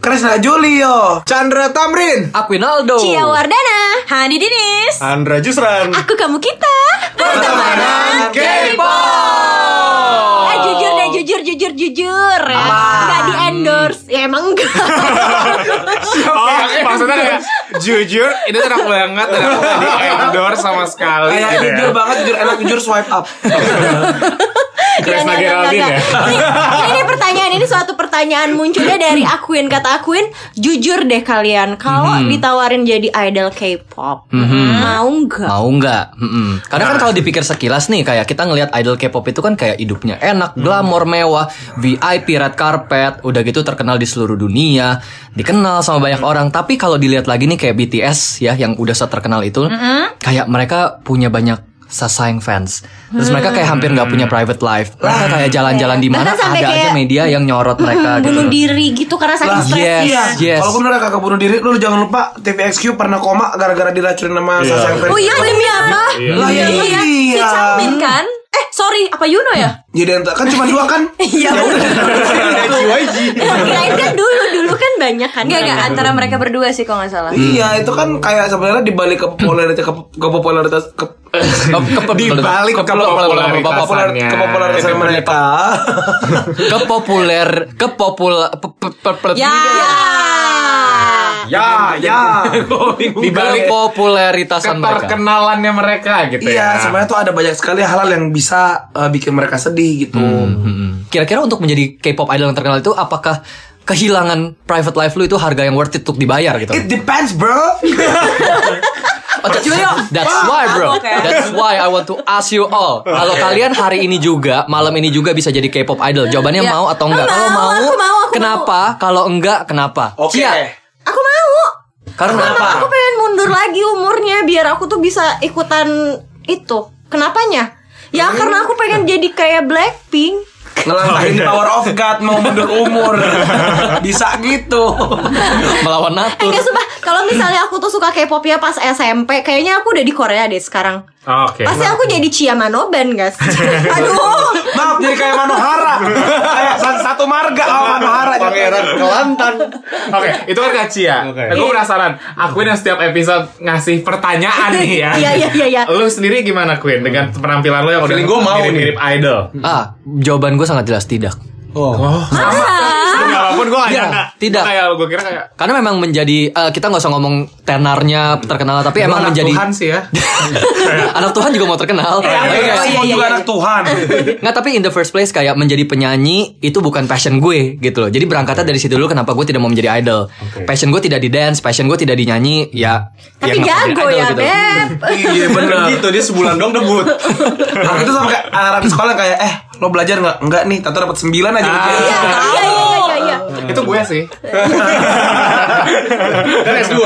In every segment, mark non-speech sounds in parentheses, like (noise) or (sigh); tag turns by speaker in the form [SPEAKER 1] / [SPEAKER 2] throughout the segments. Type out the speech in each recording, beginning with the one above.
[SPEAKER 1] Krisna Julio
[SPEAKER 2] Chandra Tamrin
[SPEAKER 3] Aku Inaldo.
[SPEAKER 4] Cia Wardana, Hani Dinis,
[SPEAKER 2] Andra Jusran
[SPEAKER 4] aku kamu kita pertemanan.
[SPEAKER 2] K-pop
[SPEAKER 4] Eh jujur deh, jujur, jujur, jujur. Gak di endorse, ya emang enggak.
[SPEAKER 2] Oh,
[SPEAKER 5] maksudnya kayak jujur itu enak banget dan aku gak di endorse sama sekali
[SPEAKER 1] Kayak
[SPEAKER 5] gitu ya.
[SPEAKER 1] Iya, jujur banget jujur enak jujur swipe up
[SPEAKER 4] Iya,
[SPEAKER 5] Kresna
[SPEAKER 4] enggak, enggak,
[SPEAKER 5] Geraldine
[SPEAKER 4] enggak. Ini, ini pertanyaan ini suatu pertanyaan munculnya dari akuin kata akuin jujur deh kalian kalau ditawarin jadi idol K-pop mau nggak?
[SPEAKER 3] Mau nggak? Mm-mm. Karena
[SPEAKER 5] Nah.
[SPEAKER 3] kan kalau dipikir sekilas nih kayak kita ngelihat idol K-pop itu kan kayak hidupnya
[SPEAKER 5] Hmm.
[SPEAKER 3] enak, glamor mewah, VIP red carpet, udah gitu terkenal di seluruh dunia, dikenal sama banyak
[SPEAKER 5] Hmm.
[SPEAKER 3] orang. Tapi kalau dilihat lagi nih kayak BTS ya yang udah terkenal itu,
[SPEAKER 4] Hmm.
[SPEAKER 3] kayak mereka punya banyak sasaeng fans. Terus mereka kayak hampir nggak punya
[SPEAKER 5] Hmm.
[SPEAKER 3] private life. Mereka kayak jalan-jalan di mana
[SPEAKER 4] Bahkan sampai
[SPEAKER 3] ada aja
[SPEAKER 4] kayak-
[SPEAKER 3] media yang nyorot mereka gitu.
[SPEAKER 4] bunuh diri gitu karena saking
[SPEAKER 1] Lah,
[SPEAKER 4] stresnya.
[SPEAKER 3] Yes, yes.
[SPEAKER 1] Kalaupun udah kakak bunuh diri, lu jangan lupa TVXQ pernah koma gara-gara diracunin sama
[SPEAKER 5] Iya.
[SPEAKER 1] Sasang Ferry.
[SPEAKER 4] Oh iya demi apa?
[SPEAKER 1] Lah, ya
[SPEAKER 4] Iya, si
[SPEAKER 1] iya.
[SPEAKER 4] Changmin kan? Eh sorry, apa Yuno ya?
[SPEAKER 1] Jadi ente- kan cuma dua
[SPEAKER 4] (laughs)
[SPEAKER 1] kan?
[SPEAKER 4] Iya.
[SPEAKER 2] YG
[SPEAKER 4] Kirain kan dulu dulu kan banyak kan?
[SPEAKER 6] Enggak, enggak antara mereka berdua sih kalau nggak salah.
[SPEAKER 1] Iya, itu kan kayak sebenarnya dibalik ke popularitas ke, ke popularitas ke,
[SPEAKER 5] di balik
[SPEAKER 1] popularitas
[SPEAKER 5] kepopuleritasannya
[SPEAKER 1] ke popularitas mereka. (laughs)
[SPEAKER 3] Kepopuler, kepopul, pe- pe- pe- pe-
[SPEAKER 4] Ya.
[SPEAKER 2] Ya, ya
[SPEAKER 5] di balik
[SPEAKER 3] kepopuleritasan mereka.
[SPEAKER 5] keterkenalannya mereka gitu
[SPEAKER 1] Iya,
[SPEAKER 5] ya
[SPEAKER 1] sebenarnya tuh ada banyak sekali hal-hal yang bisa eh, bikin mereka sedih gitu.
[SPEAKER 3] Mm-mm. Hmm. Kira-kira untuk menjadi K-pop idol yang terkenal itu apakah kehilangan private life lu itu harga yang worth it untuk dibayar gitu?
[SPEAKER 1] It depends, bro.
[SPEAKER 3] Oh, that's, that's why bro. That's why I want to ask you all. Kalau kalian hari ini juga, malam ini juga bisa jadi K-pop idol. Jawabannya
[SPEAKER 6] Ya.
[SPEAKER 3] mau atau enggak?
[SPEAKER 4] Mau,
[SPEAKER 3] Kalau mau,
[SPEAKER 4] aku mau, aku
[SPEAKER 3] kenapa? Kalau enggak, kenapa?
[SPEAKER 2] Oke.
[SPEAKER 3] Cia,
[SPEAKER 1] Iya.
[SPEAKER 4] Aku mau.
[SPEAKER 3] karena apa?
[SPEAKER 4] Aku pengen mundur lagi umurnya biar aku tuh bisa ikutan itu. Kenapanya?
[SPEAKER 3] Iya.
[SPEAKER 4] Ya karena aku pengen jadi kayak Blackpink. Eh,
[SPEAKER 1] Ngelangkahin power of God mau mundur (laughs) umur. bisa gitu.
[SPEAKER 3] (laughs) Melawan natur.
[SPEAKER 4] Enggak sumpah, kalau misalnya aku tuh suka K-pop ya pas SMP, kayaknya aku udah di Korea deh sekarang.
[SPEAKER 5] oke
[SPEAKER 4] Pasti aku jadi Cia Manoban,
[SPEAKER 3] (laughs)
[SPEAKER 4] guys. Aduh.
[SPEAKER 1] Maaf jadi kayak Manohara. kayak sa- satu marga sama Manohara.
[SPEAKER 2] Pangeran Kelantan
[SPEAKER 5] Oke, itu kan Kak Cia.
[SPEAKER 2] Oke.
[SPEAKER 5] Gue penasaran. Akuin yang setiap episode ngasih pertanyaan nih ya.
[SPEAKER 4] Iya, iya, iya, iya.
[SPEAKER 5] Lu sendiri gimana Queen dengan penampilan lu yang udah
[SPEAKER 2] Feeling gua mau
[SPEAKER 5] mirip-mirip idol?
[SPEAKER 3] Ah, jawaban gue sangat jelas tidak.
[SPEAKER 5] Walaupun gue
[SPEAKER 3] Iya,
[SPEAKER 5] nggak nyangka.
[SPEAKER 3] tidak.
[SPEAKER 5] Kayak gue kira kayak
[SPEAKER 3] Karena memang menjadi eh, kita nggak usah ngomong tenarnya terkenal, tapi
[SPEAKER 5] Lu
[SPEAKER 3] emang
[SPEAKER 5] anak
[SPEAKER 3] menjadi
[SPEAKER 5] Tuhan sih ya.
[SPEAKER 3] (laughs) anak Tuhan juga mau terkenal. Tapi kayak-
[SPEAKER 1] Iya, juga anak Tuhan.
[SPEAKER 3] Nggak tapi in the first place kayak menjadi penyanyi itu bukan passion gue gitu loh. Jadi berangkatnya dari situ dulu kenapa gue tidak mau menjadi idol. Passion gue tidak di dance, passion gue tidak di nyanyi, ya.
[SPEAKER 4] Tapi
[SPEAKER 3] ya nggak
[SPEAKER 4] jago
[SPEAKER 3] mau jadi
[SPEAKER 4] ya,
[SPEAKER 3] idol gitu.
[SPEAKER 4] Beb.
[SPEAKER 1] Iya bener
[SPEAKER 2] Gitu dia sebulan dong debut
[SPEAKER 1] Aku tuh sama kayak anak di sekolah kayak eh lo belajar nggak? Enggak nih, tato dapat 9 aja. ujian.
[SPEAKER 4] Iya, iya, iya, iya, iya.
[SPEAKER 5] Itu gue sih.
[SPEAKER 2] Dan
[SPEAKER 1] Kan
[SPEAKER 2] S2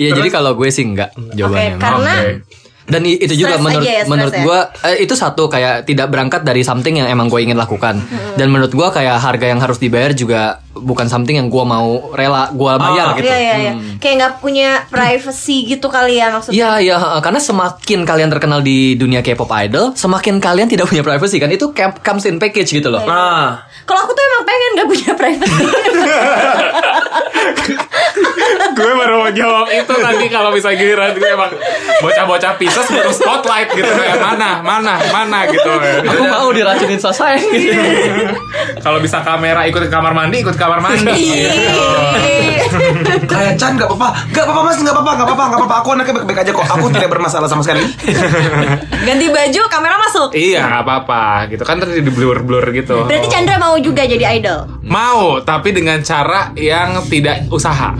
[SPEAKER 3] Iya jadi kalau gue sih enggak jawabannya. emang.
[SPEAKER 4] Karena
[SPEAKER 5] Oke.
[SPEAKER 3] Dan i- itu juga
[SPEAKER 4] Stress
[SPEAKER 3] menurut
[SPEAKER 4] aja ya, stress
[SPEAKER 3] menurut
[SPEAKER 4] ya.
[SPEAKER 3] gue itu satu kayak tidak berangkat dari something yang emang gue ingin lakukan. Dan menurut gue kayak harga yang harus dibayar juga bukan something yang gue mau rela gue
[SPEAKER 5] Ah,
[SPEAKER 3] bayar gitu.
[SPEAKER 4] Iya, iya, iya.
[SPEAKER 5] Hmm.
[SPEAKER 4] Kayak nggak punya privacy gitu kali ya maksudnya.
[SPEAKER 3] Iya, iya, heeh. karena semakin kalian terkenal di dunia K-pop idol, semakin kalian tidak punya privacy kan. Itu camp- comes in package gitu loh.
[SPEAKER 2] Ah.
[SPEAKER 1] Nah,
[SPEAKER 4] Kalau aku tuh emang pengen nggak punya
[SPEAKER 5] (laughs)
[SPEAKER 4] privacy.
[SPEAKER 5] gue baru mau jawab itu tadi kalau bisa giliran gue emang bocah-bocah Pisces baru spotlight gitu kayak mana, mana, mana gitu.
[SPEAKER 3] Aku mau diracunin
[SPEAKER 5] Iya.
[SPEAKER 3] selesai gitu.
[SPEAKER 5] Kalau bisa kamera ikut ke kamar mandi, ikut ke kamar mandi.
[SPEAKER 4] Ih.
[SPEAKER 1] kayak Chan nggak apa-apa, nggak apa-apa mas, nggak apa-apa, nggak apa-apa, nggak apa-apa. Aku anaknya baik-baik aja kok. Aku tidak bermasalah sama (laughs) sekali.
[SPEAKER 4] Ganti baju, kamera masuk.
[SPEAKER 5] Iya, nggak apa-apa gitu kan tadi di blur blur gitu.
[SPEAKER 4] Berarti Chandra mau juga jadi idol.
[SPEAKER 5] Mau, tapi dengan cara yang tidak usaha.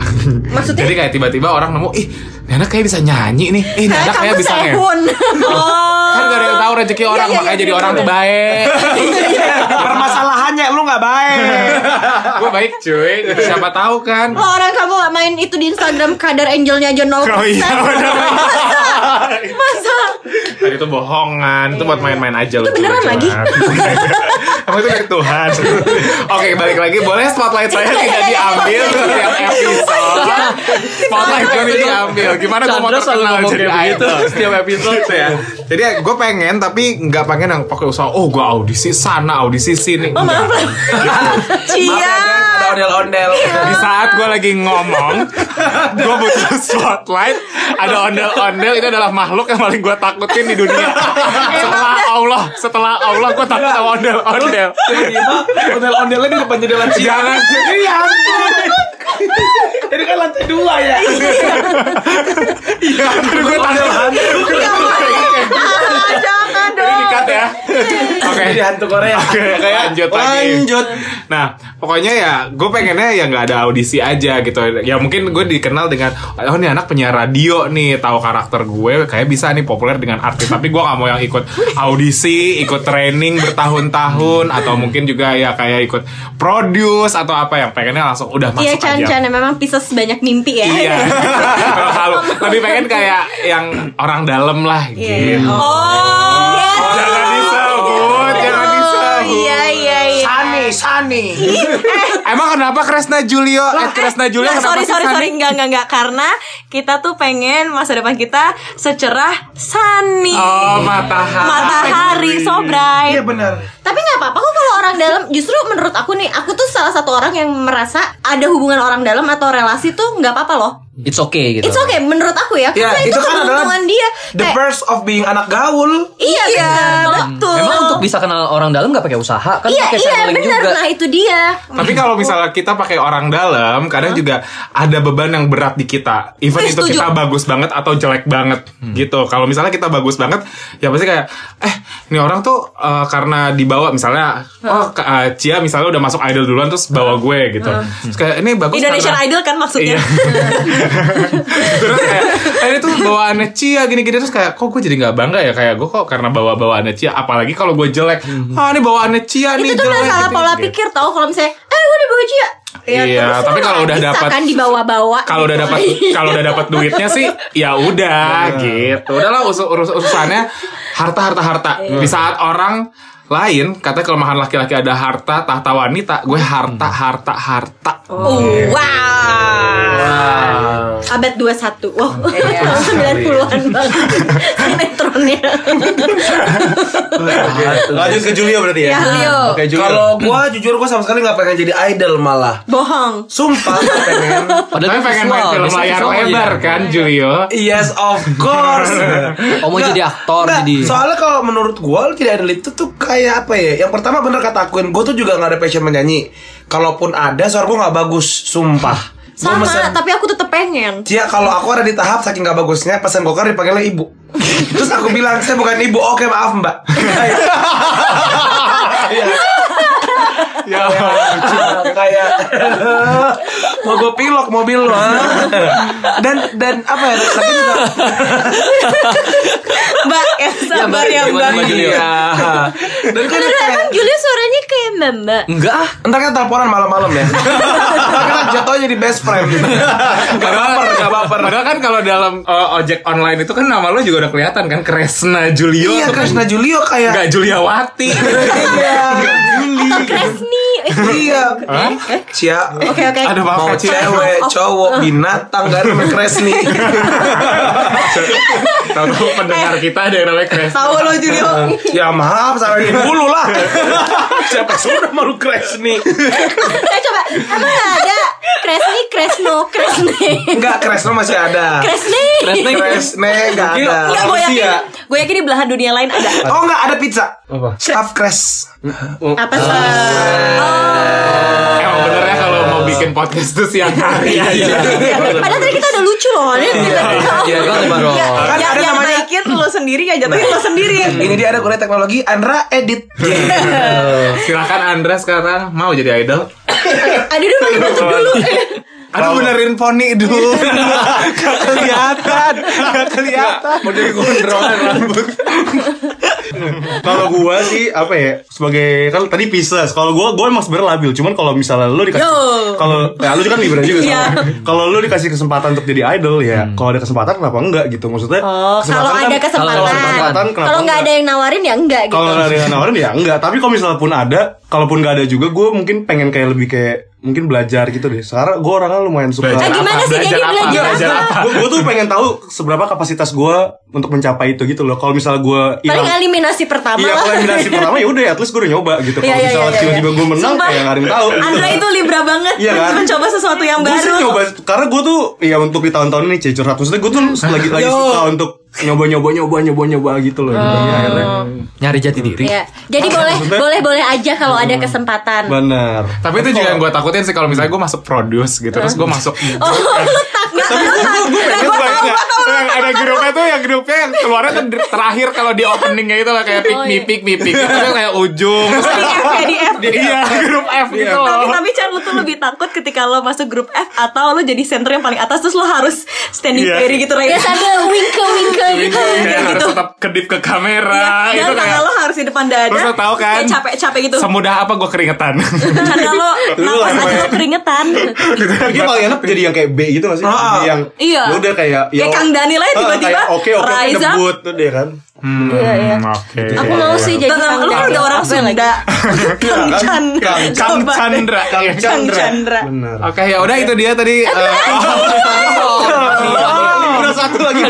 [SPEAKER 4] Maksudnya?
[SPEAKER 5] Jadi kayak tiba-tiba orang nemu, ih, Nana kayak bisa nyanyi nih. Eh, Nana kayak
[SPEAKER 4] kamu
[SPEAKER 5] bisa nge-"
[SPEAKER 4] sehun. Oh.
[SPEAKER 5] (laughs) Kan gak ada yang tahu rezeki orang,
[SPEAKER 4] iya,
[SPEAKER 5] makanya
[SPEAKER 4] iya,
[SPEAKER 5] jadi
[SPEAKER 4] bener,
[SPEAKER 5] orang tuh
[SPEAKER 4] bener.
[SPEAKER 5] baik. Iya,
[SPEAKER 1] Iya, Permasalahannya lu nggak baik.
[SPEAKER 5] Gue baik cuy, siapa tahu kan.
[SPEAKER 4] Kalau orang kamu main itu di Instagram kadar angelnya aja 0%.
[SPEAKER 5] Oh iya, bener.
[SPEAKER 4] Masa?
[SPEAKER 5] Tadi itu bohongan, itu buat main-main aja
[SPEAKER 4] Iya. Itu beneran lagi?
[SPEAKER 5] (laughs) Kamu itu dari Tuhan. Oke, balik lagi. Boleh spotlight saya
[SPEAKER 4] Iya,
[SPEAKER 5] tidak
[SPEAKER 4] iya, iya,
[SPEAKER 5] diambil
[SPEAKER 4] iya, iya.
[SPEAKER 5] setiap episode. Spotlight gue ini diambil. Gimana gue mau
[SPEAKER 3] Chandra selalu
[SPEAKER 5] terkenal
[SPEAKER 3] ngomong
[SPEAKER 5] jadi
[SPEAKER 3] kayak begitu
[SPEAKER 5] idol?
[SPEAKER 3] (laughs) setiap episode ya.
[SPEAKER 5] Jadi ya, gue pengen tapi nggak pengen yang pakai usaha. Oh gue audisi sana, audisi sini.
[SPEAKER 4] Oh,
[SPEAKER 5] Enggak. ya,
[SPEAKER 1] Iya. Ada ondel-ondel.
[SPEAKER 4] Iya.
[SPEAKER 1] (laughs)
[SPEAKER 5] Di saat gue lagi ngomong, gue butuh spotlight. Ada ondel-ondel itu adalah makhluk yang paling gue takutin di dunia. Setelah Allah, setelah Allah gue takut sama ondel-ondel.
[SPEAKER 1] Tiba-tiba ondel-ondelnya di depan jendela Cia.
[SPEAKER 5] Jangan jadi ya.
[SPEAKER 1] Ini kan lantai dua ya.
[SPEAKER 5] Iya, gue takut.
[SPEAKER 1] Ya
[SPEAKER 4] Iya.
[SPEAKER 5] gitu,
[SPEAKER 4] Jangan Iya,
[SPEAKER 5] Ini dikat ya. Oke.
[SPEAKER 1] Jadi hantu Korea.
[SPEAKER 5] Oke,
[SPEAKER 1] ya.
[SPEAKER 5] lanjut lagi.
[SPEAKER 2] Lanjut.
[SPEAKER 5] Nah, pokoknya ya gue pengennya ya nggak ada audisi aja gitu. Ya mungkin gue dikenal dengan oh ini anak penyiar radio nih, tahu karakter gue kayak bisa nih populer dengan artis. Tapi gue nggak mau yang ikut audisi, ikut training bertahun-tahun atau mungkin juga ya kayak ikut produce atau apa yang pengennya langsung udah masuk
[SPEAKER 4] Iya
[SPEAKER 5] aja.
[SPEAKER 4] Chan Chan memang Pisces banyak mimpi ya. (laughs)
[SPEAKER 5] Iya. Kalau halu. Lebih pengen kayak yang orang dalam lah
[SPEAKER 4] Iya.
[SPEAKER 5] gitu.
[SPEAKER 4] Oh.
[SPEAKER 5] Jangan disebut, Oh, jangan disebut.
[SPEAKER 4] Iya iya iya.
[SPEAKER 1] Sani, Sani.
[SPEAKER 5] Emang kenapa Kresna Julio? Eh, Kresna Julio
[SPEAKER 4] Nah,
[SPEAKER 5] kenapa
[SPEAKER 4] sorry
[SPEAKER 5] sih
[SPEAKER 4] sorry
[SPEAKER 5] Sani?
[SPEAKER 4] sorry enggak enggak enggak karena kita tuh pengen masa depan kita secerah sani.
[SPEAKER 5] Oh, matahari.
[SPEAKER 4] Matahari sobrai.
[SPEAKER 1] Iya benar.
[SPEAKER 4] Tapi nggak apa-apa kok kalau orang dalam justru menurut aku nih aku tuh salah satu orang yang merasa ada hubungan orang dalam atau relasi tuh nggak apa-apa loh.
[SPEAKER 3] It's okay gitu.
[SPEAKER 4] It's okay menurut aku ya.
[SPEAKER 1] Ya,
[SPEAKER 4] Karena
[SPEAKER 1] itu
[SPEAKER 4] itu,
[SPEAKER 1] kan adalah
[SPEAKER 4] keuntungan dia. Eh.
[SPEAKER 1] The
[SPEAKER 4] Kayak,
[SPEAKER 1] first of being anak gaul.
[SPEAKER 4] iya, iya betul.
[SPEAKER 3] Memang untuk bisa kenal orang dalam nggak pakai usaha kan
[SPEAKER 4] Iya
[SPEAKER 3] pakai
[SPEAKER 4] iya
[SPEAKER 3] channeling
[SPEAKER 4] benar
[SPEAKER 3] juga.
[SPEAKER 4] nah itu dia.
[SPEAKER 5] Tapi kalau misalnya kita pakai orang dalam, kadang juga ada beban yang berat di kita. Even
[SPEAKER 4] Eh,
[SPEAKER 5] itu
[SPEAKER 4] setuju.
[SPEAKER 5] kita bagus banget atau jelek banget gitu. Kalau misalnya kita bagus banget, ya pasti kayak eh ini orang tuh eh, karena dibawa misalnya oh Kak, eh, Cia misalnya udah masuk idol duluan terus bawa gue gitu. Terus kayak ini bagus
[SPEAKER 4] Indonesian
[SPEAKER 5] karena-
[SPEAKER 4] Idol kan maksudnya.
[SPEAKER 5] Iya. terus kayak eh, ini tuh bawaannya Cia gini-gini terus kayak kok gue jadi nggak bangga ya kayak gue kok karena bawa bawaannya Cia apalagi kalau gue jelek ah ini bawaannya Cia nih
[SPEAKER 4] itu tuh
[SPEAKER 5] jelek
[SPEAKER 4] masalah
[SPEAKER 5] gitu.
[SPEAKER 4] pola
[SPEAKER 5] Gitu.
[SPEAKER 4] pikir tau kalau misalnya eh gue udah bawa Cia Ya,
[SPEAKER 5] Iya,
[SPEAKER 4] terus
[SPEAKER 5] tapi
[SPEAKER 4] lu
[SPEAKER 5] kalau
[SPEAKER 4] nggak
[SPEAKER 5] udah
[SPEAKER 4] bisa
[SPEAKER 5] dapat-
[SPEAKER 4] kan dibawa-bawa
[SPEAKER 5] kalau udah
[SPEAKER 4] gitu.
[SPEAKER 5] dapat kalau udah dapat duitnya sih ya udah gitu udahlah urus urus urusannya harta harta harta di saat orang lain kata kelemahan laki-laki ada harta tahta wanita gue harta harta harta
[SPEAKER 4] (laughs) Oh,
[SPEAKER 5] Iya.
[SPEAKER 4] wow. Abad 21 Wow
[SPEAKER 5] Iya.
[SPEAKER 4] (laughs) Tahun 90-an banget
[SPEAKER 5] (laughs)
[SPEAKER 4] Sinetronnya (laughs)
[SPEAKER 2] Lanjut ke Julio berarti ya.
[SPEAKER 4] Ya, Julio.
[SPEAKER 2] Oke, Julio.
[SPEAKER 1] Kalau gua jujur gua sama sekali nggak pengen jadi idol malah.
[SPEAKER 4] Bohong
[SPEAKER 1] Sumpah nggak
[SPEAKER 4] (laughs)
[SPEAKER 1] pengen.
[SPEAKER 3] Padahal
[SPEAKER 5] tapi
[SPEAKER 3] dia
[SPEAKER 5] pengen
[SPEAKER 3] visual,
[SPEAKER 5] main film
[SPEAKER 3] biasanya
[SPEAKER 5] layar
[SPEAKER 3] visual,
[SPEAKER 5] lebar
[SPEAKER 3] iya.
[SPEAKER 5] kan Julio
[SPEAKER 1] Yes of
[SPEAKER 3] (laughs)
[SPEAKER 1] course.
[SPEAKER 3] Oh, mau
[SPEAKER 1] Nggak,
[SPEAKER 3] jadi aktor,
[SPEAKER 1] nggak.
[SPEAKER 3] jadi-
[SPEAKER 1] Soalnya kalau menurut gua tidak idol itu tuh kayak apa ya? Yang pertama bener kata akuin, gua tuh juga nggak ada passion menyanyi. Kalaupun ada, suara gua nggak bagus, sumpah. Gua
[SPEAKER 4] Sama
[SPEAKER 1] mesen-
[SPEAKER 4] Tapi aku tetep pengen
[SPEAKER 1] Cia, kalau aku ada di tahap saking gak bagusnya, pesan gokar dipanggilnya
[SPEAKER 3] (laughs)
[SPEAKER 1] ibu. Terus aku bilang, saya bukan ibu, oke maaf mbak.
[SPEAKER 5] ya
[SPEAKER 1] kayak mau gue pilok mobil lo dan dan apa ya tapi juga
[SPEAKER 5] (laughs)
[SPEAKER 4] Mbak
[SPEAKER 5] Iya,
[SPEAKER 4] ya sabar ya
[SPEAKER 3] Mbak,
[SPEAKER 4] Mbak
[SPEAKER 3] gimana, Mbak Julio?
[SPEAKER 1] iya dan kan
[SPEAKER 4] Beneran
[SPEAKER 1] kayak
[SPEAKER 4] emang Julia suaranya kayak Mbak Mbak
[SPEAKER 3] Enggak ah.
[SPEAKER 1] Ntar kita teleponan malam-malam ya Ntar kita jatuh jadi best friend Gak baper, gak baper
[SPEAKER 5] Padahal kan kalau dalam uh, ojek online itu kan nama lo juga udah kelihatan kan Kresna Julio
[SPEAKER 1] Iya,
[SPEAKER 5] tuh kan.
[SPEAKER 1] Krishna Julio
[SPEAKER 5] Nggak
[SPEAKER 1] kayak
[SPEAKER 5] Juliawati
[SPEAKER 1] Iya
[SPEAKER 4] Atau
[SPEAKER 5] (laughs)
[SPEAKER 4] Kresni
[SPEAKER 1] Iya
[SPEAKER 5] Hah?
[SPEAKER 1] Cia
[SPEAKER 4] Oke oke
[SPEAKER 5] Aduh, maaf,
[SPEAKER 1] Mau
[SPEAKER 5] Kak Cia.
[SPEAKER 1] cewek, cowok, binatang, gak ada sama Kresni
[SPEAKER 5] Tahu
[SPEAKER 4] Eh,
[SPEAKER 5] pendengar kita ada yang namanya Kresna
[SPEAKER 4] Tahu lo
[SPEAKER 5] (laughs)
[SPEAKER 4] Julio
[SPEAKER 1] Ya maaf, salah dulu lah Siapa sudah malu Kresni
[SPEAKER 4] Eh coba Emang nggak ada Kresni Kresno Kresne
[SPEAKER 1] Enggak, Kresno masih ada
[SPEAKER 4] Kresne
[SPEAKER 3] Kresna
[SPEAKER 1] Kresne gak ada
[SPEAKER 4] Enggak gue yakin Gue yakin di belahan dunia lain ada
[SPEAKER 1] Oh enggak, ada pizza Staff Kres
[SPEAKER 4] Apa sih
[SPEAKER 5] Eh.
[SPEAKER 1] Oh. Eh.
[SPEAKER 5] Emang ya? benernya kalau mau bikin podcast tuh siang hari aja.
[SPEAKER 4] Iya, Padahal tadi kita udah lucu loh. Ini kita
[SPEAKER 3] Iya, gimana dong?
[SPEAKER 4] Ya,
[SPEAKER 1] Kan
[SPEAKER 4] yang,
[SPEAKER 1] ada
[SPEAKER 4] yang
[SPEAKER 1] namanya-
[SPEAKER 4] naikin lo sendiri ya jatuhin lo sendiri.
[SPEAKER 1] Ini dia ada kuliah teknologi, Andra
[SPEAKER 2] (laughs)
[SPEAKER 1] edit
[SPEAKER 5] Silakan Andra sekarang mau jadi idol.
[SPEAKER 4] Aduh, udah pakai baju dulu.
[SPEAKER 5] Aduh benerin poni dulu.
[SPEAKER 1] Iya.
[SPEAKER 5] Gak kelihatan, gak kelihatan.
[SPEAKER 2] Mau jadi gondrolan rambut. kalau gua sih apa ya sebagai kan tadi Pisces. Kalau gua gua emang sebenarnya labil. Cuman kalau misalnya lu dikasih
[SPEAKER 4] Yo.
[SPEAKER 2] kalau ya, lu juga kan Libra juga
[SPEAKER 4] Iya.
[SPEAKER 2] sama. Kalau lu dikasih kesempatan untuk jadi idol ya,
[SPEAKER 5] Hmm.
[SPEAKER 2] kalau ada kesempatan kenapa enggak gitu maksudnya?
[SPEAKER 4] Oh, kalau ada
[SPEAKER 2] kesempatan kan-
[SPEAKER 3] kalau ada
[SPEAKER 4] kesempatan.
[SPEAKER 2] kesempatan, kenapa
[SPEAKER 4] Kalau nggak ada
[SPEAKER 2] enggak?
[SPEAKER 4] yang nawarin ya enggak gitu.
[SPEAKER 2] Kalau nggak ada yang nawarin ya enggak. Tapi kalau misalnya pun ada, kalaupun nggak ada juga, gue mungkin pengen kayak lebih kayak mungkin belajar gitu deh. Sekarang gue orangnya lumayan suka.
[SPEAKER 4] Nah, gimana sih
[SPEAKER 5] Belajar
[SPEAKER 4] jadi
[SPEAKER 5] apa?
[SPEAKER 4] belajar,
[SPEAKER 5] Belajar
[SPEAKER 4] apa?
[SPEAKER 5] apa?
[SPEAKER 2] Gue tuh pengen tahu seberapa kapasitas gue untuk mencapai itu gitu loh. Kalau misalnya gue
[SPEAKER 4] Paling eliminasi pertama lah.
[SPEAKER 2] Iya, kalau eliminasi pertama ya udah, at least gue udah nyoba gitu. Kalau
[SPEAKER 4] Iya, iya,
[SPEAKER 2] misalnya
[SPEAKER 4] iya, iya.
[SPEAKER 2] tiba-tiba gue menang,
[SPEAKER 4] Sumpah,
[SPEAKER 2] kayak nggak ada yang tahu. gitu.
[SPEAKER 4] Andra itu libra banget
[SPEAKER 2] Iya kan?
[SPEAKER 4] mencoba sesuatu yang
[SPEAKER 2] Gue sih
[SPEAKER 4] baru.
[SPEAKER 2] nyoba karena gue tuh ya untuk di tahun-tahun ini cecur satu gue tuh lagi lagi
[SPEAKER 1] Yo.
[SPEAKER 2] suka untuk nyoba nyoba nyoba nyoba nyoba gitu loh. Jadi akhirnya
[SPEAKER 3] Nyari jati diri.
[SPEAKER 4] Iya. Jadi boleh boleh boleh aja kalau ada kesempatan.
[SPEAKER 2] benar.
[SPEAKER 5] Tapi itu juga yang gue takutin sih kalau misalnya gue masuk produce gitu terus gue masuk
[SPEAKER 4] Oh, lu takut. lu takut. Nah,
[SPEAKER 5] Itu
[SPEAKER 4] gua
[SPEAKER 5] banyak.
[SPEAKER 4] tahu, gua tahu.
[SPEAKER 5] yang ada grupnya tuh yang grupnya yang keluarnya tuh di- terakhir kalau di openingnya itu lah kayak pick
[SPEAKER 4] Oh,
[SPEAKER 5] me
[SPEAKER 4] iya.
[SPEAKER 5] pick me pick itu kan kayak ujung
[SPEAKER 4] Di F ya, di F.
[SPEAKER 5] iya grup F gitu
[SPEAKER 7] Tapi
[SPEAKER 2] Oh.
[SPEAKER 5] loh
[SPEAKER 7] tapi Chan lu tuh lebih takut ketika lo masuk grup F atau lo jadi center yang paling atas terus lo harus standing
[SPEAKER 2] Iya.
[SPEAKER 7] very gitu
[SPEAKER 4] Ya
[SPEAKER 7] right.
[SPEAKER 4] sambil winke winke gitu.
[SPEAKER 7] Iya,
[SPEAKER 5] Kayak harus tetap kedip ke
[SPEAKER 2] Ah,
[SPEAKER 5] kamera
[SPEAKER 7] Dan
[SPEAKER 5] itu
[SPEAKER 7] tangan
[SPEAKER 5] kayak
[SPEAKER 7] lo harus di depan dada.
[SPEAKER 5] Terus lo tahu kan?
[SPEAKER 7] Kayak capek-capek gitu.
[SPEAKER 5] semudah apa gue
[SPEAKER 7] (laughs)
[SPEAKER 5] keringetan
[SPEAKER 7] Karena lo
[SPEAKER 2] Lu ya? lah,
[SPEAKER 7] nafas aja
[SPEAKER 2] emang.
[SPEAKER 7] lo keringetan.
[SPEAKER 2] Tapi paling enak jadi yang kayak B gitu gak sih?
[SPEAKER 1] Ah.
[SPEAKER 2] Jadi yang
[SPEAKER 7] Iya.
[SPEAKER 2] ya udah kayak
[SPEAKER 7] Kayak Kang Daniel aja
[SPEAKER 2] Ah,
[SPEAKER 7] tiba-tiba,
[SPEAKER 2] kayak Oke oke oke
[SPEAKER 7] Raisa.
[SPEAKER 2] debut tuh deh kan.
[SPEAKER 7] Iya,
[SPEAKER 5] Hmm, oke
[SPEAKER 4] Aku mau sih jadi
[SPEAKER 7] Tuh, tuh, Lu kan
[SPEAKER 4] Kang
[SPEAKER 7] udah orang
[SPEAKER 4] Apa lagi?
[SPEAKER 7] Sunda. Kang
[SPEAKER 2] Iya, kan?
[SPEAKER 7] Chandra.
[SPEAKER 2] Kang
[SPEAKER 5] Kang
[SPEAKER 7] Coba.
[SPEAKER 5] Chandra
[SPEAKER 2] Kang
[SPEAKER 5] Iya.
[SPEAKER 2] Chandra.
[SPEAKER 7] Chandra.
[SPEAKER 2] Benar.
[SPEAKER 5] Oke ya udah itu dia tadi
[SPEAKER 3] Iya.
[SPEAKER 2] Udah satu lagi.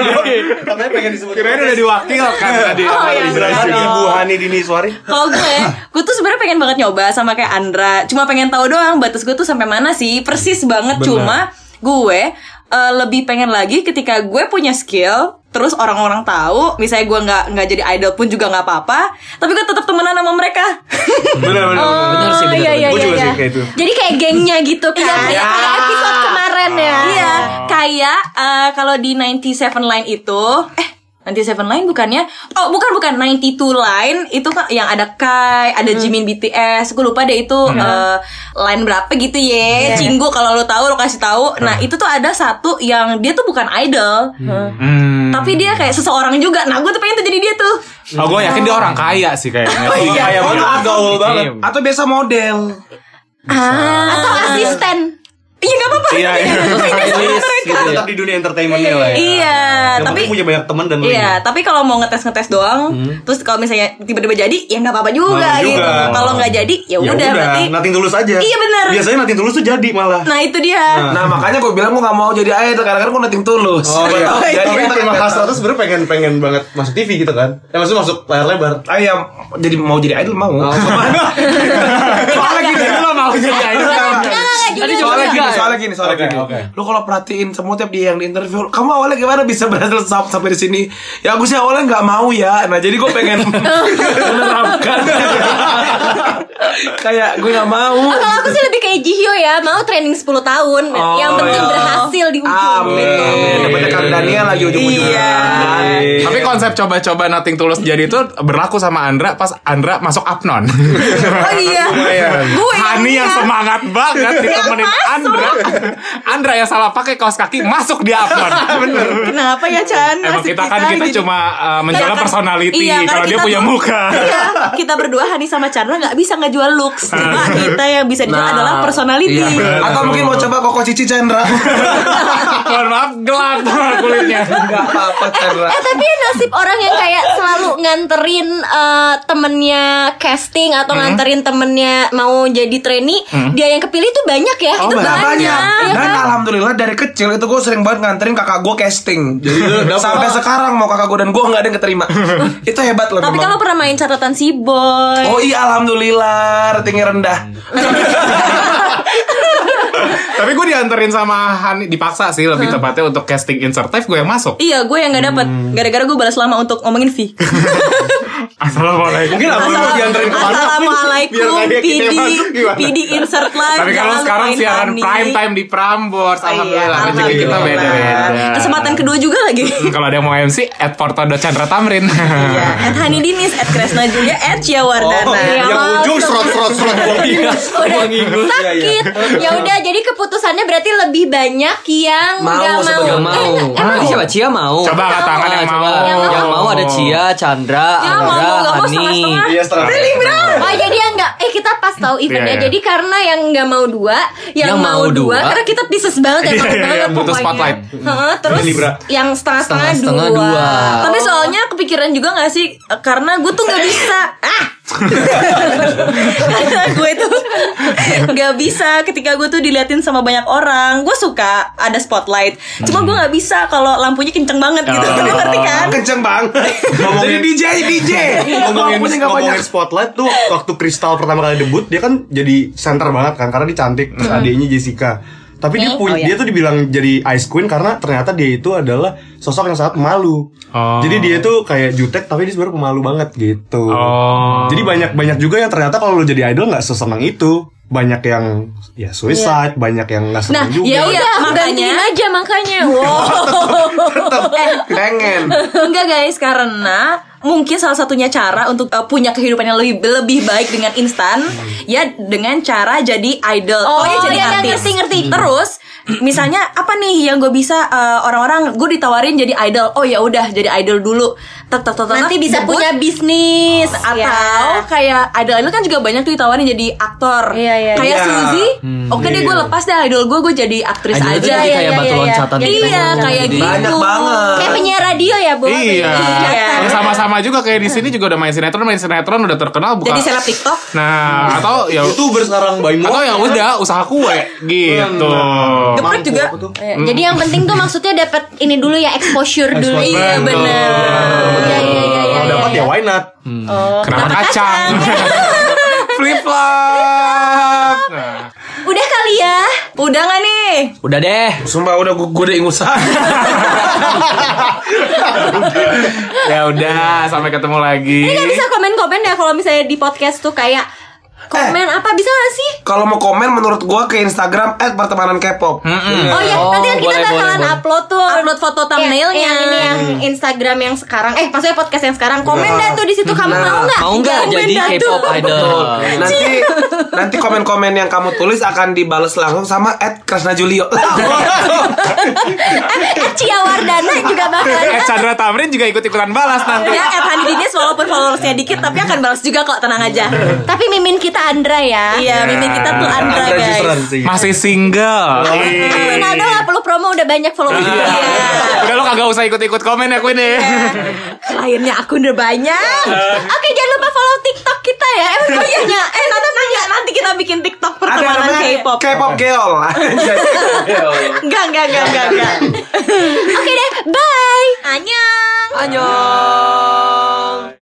[SPEAKER 2] Katanya pengen disebut.
[SPEAKER 5] Kira udah diwakilkan kan tadi
[SPEAKER 7] Oh, iya,
[SPEAKER 2] Berarti Ibu Hani Dini Suari.
[SPEAKER 7] Kalau gue, gue tuh sebenarnya pengen banget nyoba sama kayak Andra. Cuma pengen tahu doang batas gue tuh sampai mana sih. Persis banget
[SPEAKER 2] Benar.
[SPEAKER 7] cuma gue eh, lebih pengen lagi ketika gue punya skill terus orang-orang tahu misalnya gue nggak nggak jadi idol pun juga nggak apa-apa tapi gue tetap temenan sama mereka (laughs)
[SPEAKER 2] Benar
[SPEAKER 7] Oh,
[SPEAKER 2] benar.
[SPEAKER 3] Bener sih, bener,
[SPEAKER 4] iya,
[SPEAKER 3] bener.
[SPEAKER 4] iya,
[SPEAKER 2] Gue
[SPEAKER 4] iya,
[SPEAKER 2] juga
[SPEAKER 4] iya.
[SPEAKER 2] sih kayak itu.
[SPEAKER 4] Jadi kayak gengnya gitu kan. Kayak kayak episode kemarin ya.
[SPEAKER 7] Iya,
[SPEAKER 5] Ah.
[SPEAKER 7] kayak eh, kalau di 97 line itu eh 97 line bukannya oh bukan bukan 92 line itu kan yang ada Kai, ada Jimin BTS, gue lupa deh itu eh, line berapa gitu
[SPEAKER 5] Iya,
[SPEAKER 7] ya. Cinggu kalau lo tahu lo kasih tahu. Nah, itu tuh ada satu yang dia tuh bukan idol. Tapi dia kayak seseorang juga. Nah, gue tuh pengen tuh jadi dia tuh.
[SPEAKER 5] Oh gue yakin dia orang kaya sih kayaknya
[SPEAKER 7] Oh,
[SPEAKER 2] Iya,
[SPEAKER 1] Iya,
[SPEAKER 2] kayak banget
[SPEAKER 1] atau-
[SPEAKER 2] gaul banget.
[SPEAKER 1] Atau biasa model.
[SPEAKER 4] Atau asisten.
[SPEAKER 7] Ah. Iya, gak apa-apa.
[SPEAKER 5] Iya iya
[SPEAKER 2] Tetap di dunia entertainmentnya lah ya.
[SPEAKER 7] (laughs) Iya,
[SPEAKER 2] Yang
[SPEAKER 7] tapi
[SPEAKER 2] penting punya banyak teman dan
[SPEAKER 7] Iya,
[SPEAKER 2] lain.
[SPEAKER 7] tapi kalau mau ngetes-ngetes doang, terus kalau misalnya tiba-tiba jadi, ya nggak apa-apa juga,
[SPEAKER 2] Nggak apa-apa
[SPEAKER 7] gitu.
[SPEAKER 2] juga.
[SPEAKER 7] Kalau nggak jadi, ya udah berarti.
[SPEAKER 2] nating tulus aja.
[SPEAKER 7] Iya, benar.
[SPEAKER 2] Biasanya nating tulus tuh jadi malah.
[SPEAKER 7] Nah itu dia.
[SPEAKER 1] Nah, makanya gue bilang gue gak mau jadi idol karena kan gue nothing tulus.
[SPEAKER 2] Oh iya.
[SPEAKER 1] Jadi
[SPEAKER 2] Tapi
[SPEAKER 1] kita
[SPEAKER 2] terima
[SPEAKER 1] nggak
[SPEAKER 2] kasih tuh sebenarnya pengen pengen banget masuk TV gitu kan. Ya maksudnya masuk layar lebar.
[SPEAKER 1] tahu. Ah, iya, jadi mau jadi idol Oh, mau. (laughs) soalnya gini,
[SPEAKER 5] Lo mau jadi idol
[SPEAKER 3] Tadi coba
[SPEAKER 1] soalnya gini,
[SPEAKER 3] enggak.
[SPEAKER 1] soalnya gini, soalnya
[SPEAKER 2] Oke,
[SPEAKER 1] gini.
[SPEAKER 2] oke.
[SPEAKER 1] Lu kalau perhatiin semua tiap dia yang di interview, kamu awalnya gimana bisa berhasil sam- sampai di sini? Ya aku sih awalnya nggak mau ya. Nah jadi gue
[SPEAKER 5] (laughs)
[SPEAKER 1] pengen menerapkan. Kayak gue nggak mau.
[SPEAKER 4] Oh, kalau aku sih lebih kayak Jihyo ya, mau training 10 tahun,
[SPEAKER 1] Oh,
[SPEAKER 4] yang penting
[SPEAKER 1] iya.
[SPEAKER 4] berhasil di ujung.
[SPEAKER 1] Amin, amin. Dapatnya Kang Daniel lagi ujung-ujungnya.
[SPEAKER 7] Iya.
[SPEAKER 5] Tapi konsep coba-coba nothing tulus jadi itu berlaku sama Andra pas Andra masuk Apnon. ya.
[SPEAKER 7] Oh
[SPEAKER 5] (laughs)
[SPEAKER 7] iya. Gue
[SPEAKER 5] Hani yang semangat banget ditemenin Andra. Andra yang salah pakai kaos kaki masuk di Apnon. Bener.
[SPEAKER 7] Kenapa ya Chan?
[SPEAKER 5] Emang
[SPEAKER 7] Nasib
[SPEAKER 5] kita kan kita
[SPEAKER 7] jadi-
[SPEAKER 5] cuma uh, menjaga
[SPEAKER 7] Karena kan-
[SPEAKER 5] personality
[SPEAKER 7] iya, karena
[SPEAKER 5] kalau dia
[SPEAKER 7] kita
[SPEAKER 5] punya
[SPEAKER 7] tuh-
[SPEAKER 5] muka.
[SPEAKER 7] Iya, kita berdua Hani sama Chandra nggak bisa ngejual looks. Cuma
[SPEAKER 4] (laughs)
[SPEAKER 7] kita yang bisa dijual
[SPEAKER 1] Nah,
[SPEAKER 7] adalah personality.
[SPEAKER 1] Iya, bener. Atau mungkin mau coba koko cici (laughs) Chandra.
[SPEAKER 5] Mohon maaf gelap (laughs) kulitnya.
[SPEAKER 1] Enggak apa-apa Chandra.
[SPEAKER 4] Eh tapi nasib orang yang kayak selalu nganterin eh, temennya casting atau nganterin temennya mau jadi trainee, dia yang kepilih tuh banyak ya. itu
[SPEAKER 1] Nah,
[SPEAKER 4] banyak. Iya
[SPEAKER 1] Dan
[SPEAKER 4] kan?
[SPEAKER 1] alhamdulillah dari kecil itu gue sering banget nganterin kakak gue casting. Sampai sekarang mau kakak gue dan gue nggak ada yang
[SPEAKER 7] (laughs)
[SPEAKER 1] keterima. itu hebat loh.
[SPEAKER 7] Tapi
[SPEAKER 1] memang.
[SPEAKER 7] kalau pernah main catatan si boy.
[SPEAKER 1] Oh iya alhamdulillah ratingnya rendah.
[SPEAKER 5] Tapi gue dianterin sama Hani dipaksa sih lebih tepatnya untuk casting insertif gue yang masuk.
[SPEAKER 7] Iya, gue yang nggak dapet. Gara-gara gue balas lama untuk ngomongin V.
[SPEAKER 5] Assalamualaikum.
[SPEAKER 2] Mungkin aku mau dianterin ke mana?
[SPEAKER 7] Assalamualaikum
[SPEAKER 2] Biar kayak kita
[SPEAKER 7] PD
[SPEAKER 2] masuk gimana?
[SPEAKER 7] PD insert live
[SPEAKER 5] Tapi kalau
[SPEAKER 7] jangan
[SPEAKER 5] sekarang
[SPEAKER 7] lupain
[SPEAKER 5] siaran
[SPEAKER 7] Hani.
[SPEAKER 5] prime time di Prambors,
[SPEAKER 7] Oh, iya,
[SPEAKER 5] alhamdulillah. Rezeki kita
[SPEAKER 7] alhamdulillah.
[SPEAKER 5] beda-beda. Hmm,
[SPEAKER 7] Kesempatan kedua juga lagi
[SPEAKER 5] (laughs) Kalau ada yang mau MC, at Portodo Chandra Tamrin.
[SPEAKER 7] Iya, at Hani Dinis, at Kresna Julia, at Cia Wardana
[SPEAKER 2] yang ujung serot serot serot wangi. Wangi gus. Iya, iya.
[SPEAKER 4] sakit. Ya udah, jadi keputusannya berarti lebih banyak yang
[SPEAKER 1] Mau,
[SPEAKER 4] nggak mau.
[SPEAKER 1] sebagai
[SPEAKER 3] Gak mau.
[SPEAKER 4] Eh,
[SPEAKER 3] Ah, Tadi siapa? Cia mau.
[SPEAKER 5] Coba angkat tangan
[SPEAKER 3] Ah,
[SPEAKER 5] yang
[SPEAKER 3] coba.
[SPEAKER 5] mau.
[SPEAKER 3] Yang mau ada Cia, Chandra,
[SPEAKER 7] Ya, mau,
[SPEAKER 3] Andra,
[SPEAKER 7] nggak mau,
[SPEAKER 3] Hani.
[SPEAKER 7] setengah-setengah.
[SPEAKER 2] Iya, setengah.
[SPEAKER 4] Oh jadi yang nggak eh kita pas pas tahu eventnya.
[SPEAKER 5] Iya, iya.
[SPEAKER 4] Jadi karena yang nggak mau dua, yang,
[SPEAKER 3] Yang
[SPEAKER 4] mau
[SPEAKER 3] mau
[SPEAKER 4] dua,
[SPEAKER 3] dua.
[SPEAKER 4] karena kita bisnis banget ya,
[SPEAKER 5] Iya,
[SPEAKER 4] tahu
[SPEAKER 5] iya,
[SPEAKER 4] banget
[SPEAKER 5] yang (laughs) butuh
[SPEAKER 4] pokoknya.
[SPEAKER 5] spotlight.
[SPEAKER 4] Heeh, terus
[SPEAKER 2] Libra.
[SPEAKER 4] yang setengah-setengah
[SPEAKER 3] Setengah-setengah
[SPEAKER 4] dua.
[SPEAKER 3] dua.
[SPEAKER 7] Tapi soalnya kepikiran juga gak sih Eh, Karena gue tuh gak bisa Ah (laughs) Karena gue tuh Gak bisa ketika gue tuh diliatin sama banyak orang Gue suka ada spotlight Cuma gue gak bisa kalau lampunya kenceng banget gitu Lu ngerti kan?
[SPEAKER 1] Ah, Kenceng banget. Jadi
[SPEAKER 2] Ngomongin-
[SPEAKER 1] DJ, DJ.
[SPEAKER 2] ngomongin,
[SPEAKER 1] Lampunya nggak banyak.
[SPEAKER 2] ngomongin spotlight tuh waktu Kristal pertama kali debut dia kan jadi center banget kan karena dia cantik terus
[SPEAKER 4] Hmm.
[SPEAKER 2] adiknya Jessica tapi
[SPEAKER 4] Oh,
[SPEAKER 2] dia punya
[SPEAKER 4] iya.
[SPEAKER 2] dia tuh dibilang jadi ice queen karena ternyata dia itu adalah sosok yang sangat malu
[SPEAKER 5] Oh.
[SPEAKER 2] jadi dia tuh kayak jutek tapi dia sebenarnya pemalu banget gitu
[SPEAKER 5] Oh.
[SPEAKER 2] jadi banyak banyak juga yang ternyata kalau lo jadi idol nggak sesenang itu banyak yang ya
[SPEAKER 4] Iya.
[SPEAKER 2] suicide banyak yang nggak senang juga
[SPEAKER 4] Ya
[SPEAKER 7] Iya,
[SPEAKER 4] udah,
[SPEAKER 7] makanya-
[SPEAKER 4] gantiin aja (laughs) makanya. Wow.
[SPEAKER 1] Pengen.
[SPEAKER 7] Enggak guys, karena mungkin salah satunya cara untuk eh, punya kehidupan yang lebih lebih baik dengan instan ya dengan cara jadi idol.
[SPEAKER 4] Oh,
[SPEAKER 7] ya jadi
[SPEAKER 4] iya, iya,
[SPEAKER 7] artis.
[SPEAKER 4] ngerti, ngerti.
[SPEAKER 7] Terus misalnya apa nih yang gue bisa eh, orang-orang gue ditawarin jadi idol. Oh ya udah jadi idol dulu. Tek tek tek, tek,
[SPEAKER 4] Nanti
[SPEAKER 7] tek,
[SPEAKER 4] bisa
[SPEAKER 7] debut.
[SPEAKER 4] punya bisnis
[SPEAKER 7] atau
[SPEAKER 4] ya.
[SPEAKER 7] kayak idol idol kan juga banyak tuh ditawarin jadi aktor.
[SPEAKER 4] Iya, iya,
[SPEAKER 7] kayak
[SPEAKER 1] iya.
[SPEAKER 7] Suzy, oke deh gue lepas deh idol gue gue jadi aktris
[SPEAKER 3] Hmm. iya. Idol itu jadi kayak
[SPEAKER 4] Iya, iya,
[SPEAKER 7] aja.
[SPEAKER 3] batu
[SPEAKER 4] iya, iya.
[SPEAKER 3] loncatan
[SPEAKER 4] Iya,
[SPEAKER 3] gitu.
[SPEAKER 7] Iya, kayak
[SPEAKER 3] Jadi-
[SPEAKER 7] gitu.
[SPEAKER 1] Banyak banget.
[SPEAKER 4] Kayak penyiar radio ya, Bu.
[SPEAKER 5] Iya.
[SPEAKER 4] Iya.
[SPEAKER 5] Ya, sama-sama juga kayak di sini juga udah main sinetron, main sinetron udah terkenal bukan.
[SPEAKER 7] Jadi seleb TikTok.
[SPEAKER 5] Nah, atau ya
[SPEAKER 2] youtuber sekarang by
[SPEAKER 5] atau ya udah usaha kue gitu.
[SPEAKER 7] Geprek juga.
[SPEAKER 4] Iya, Jadi yang penting tuh maksudnya dapat ini dulu ya exposure dulu.
[SPEAKER 2] Exposure.
[SPEAKER 4] Iya
[SPEAKER 2] Betul.
[SPEAKER 4] benar. Iya iya iya iya.
[SPEAKER 2] Kalau
[SPEAKER 4] iya,
[SPEAKER 2] dapat ya
[SPEAKER 4] iya.
[SPEAKER 2] why not
[SPEAKER 5] Kenapa kacang? (laughs) Flip flop. Nah,
[SPEAKER 4] Udah kali ya.
[SPEAKER 7] Udah gak nih?
[SPEAKER 3] Udah deh.
[SPEAKER 1] Sumpah udah gue gue udah ingusan.
[SPEAKER 5] ya udah, sampai ketemu lagi.
[SPEAKER 4] Ini nggak bisa komen-komen ya kalau misalnya di podcast tuh kayak komen apa bisa gak sih?
[SPEAKER 1] (laughs) Kalau mau komen menurut gue ke Instagram @pertemanankepo.
[SPEAKER 4] Oh iya,
[SPEAKER 3] Oh,
[SPEAKER 4] nanti kan kita
[SPEAKER 3] boleh,
[SPEAKER 4] bakalan
[SPEAKER 3] boleh, boleh.
[SPEAKER 4] upload tuh
[SPEAKER 7] Upload foto thumbnailnya.
[SPEAKER 4] Yang, ini yang Instagram yang sekarang. Eh, maksudnya podcast yang sekarang. Komen
[SPEAKER 1] Nah.
[SPEAKER 4] dah tuh di situ kamu mau nggak?
[SPEAKER 3] Mau nggak
[SPEAKER 4] Komen
[SPEAKER 3] jadi
[SPEAKER 4] dah tuh.
[SPEAKER 3] K-pop idol?
[SPEAKER 1] Nanti nanti komen-komen yang kamu tulis akan dibales langsung sama @krasnajulio.
[SPEAKER 4] (laughs) Eh, Cia Wardana juga bakalan
[SPEAKER 5] Eh, Chandra Tamrin juga ikut-ikutan balas nanti.
[SPEAKER 7] Ya, at Hani Dines walaupun followersnya dikit tapi akan balas juga kok, tenang aja.
[SPEAKER 4] Tapi mimin kita Andra ya.
[SPEAKER 7] Iya, mimpi kita tuh Andra
[SPEAKER 4] Iya,
[SPEAKER 2] Andra Jusran
[SPEAKER 7] guys.
[SPEAKER 2] sih
[SPEAKER 5] Masih single.
[SPEAKER 4] Queen Aldo nggak perlu promo udah banyak followers.
[SPEAKER 5] (laughs) Iya. Udah lo kagak usah ikut-ikut komen ya Queen ya.
[SPEAKER 7] Kliennya aku udah banyak.
[SPEAKER 4] Oke, jangan lupa follow TikTok kita ya. Emang
[SPEAKER 7] Iya, iya. eh nanti nanya nanti kita bikin TikTok pertemanan K-pop.
[SPEAKER 1] K-pop girl.
[SPEAKER 7] Enggak, enggak, enggak, enggak, enggak.
[SPEAKER 4] Oke deh, bye.
[SPEAKER 7] Annyeong. Annyeong.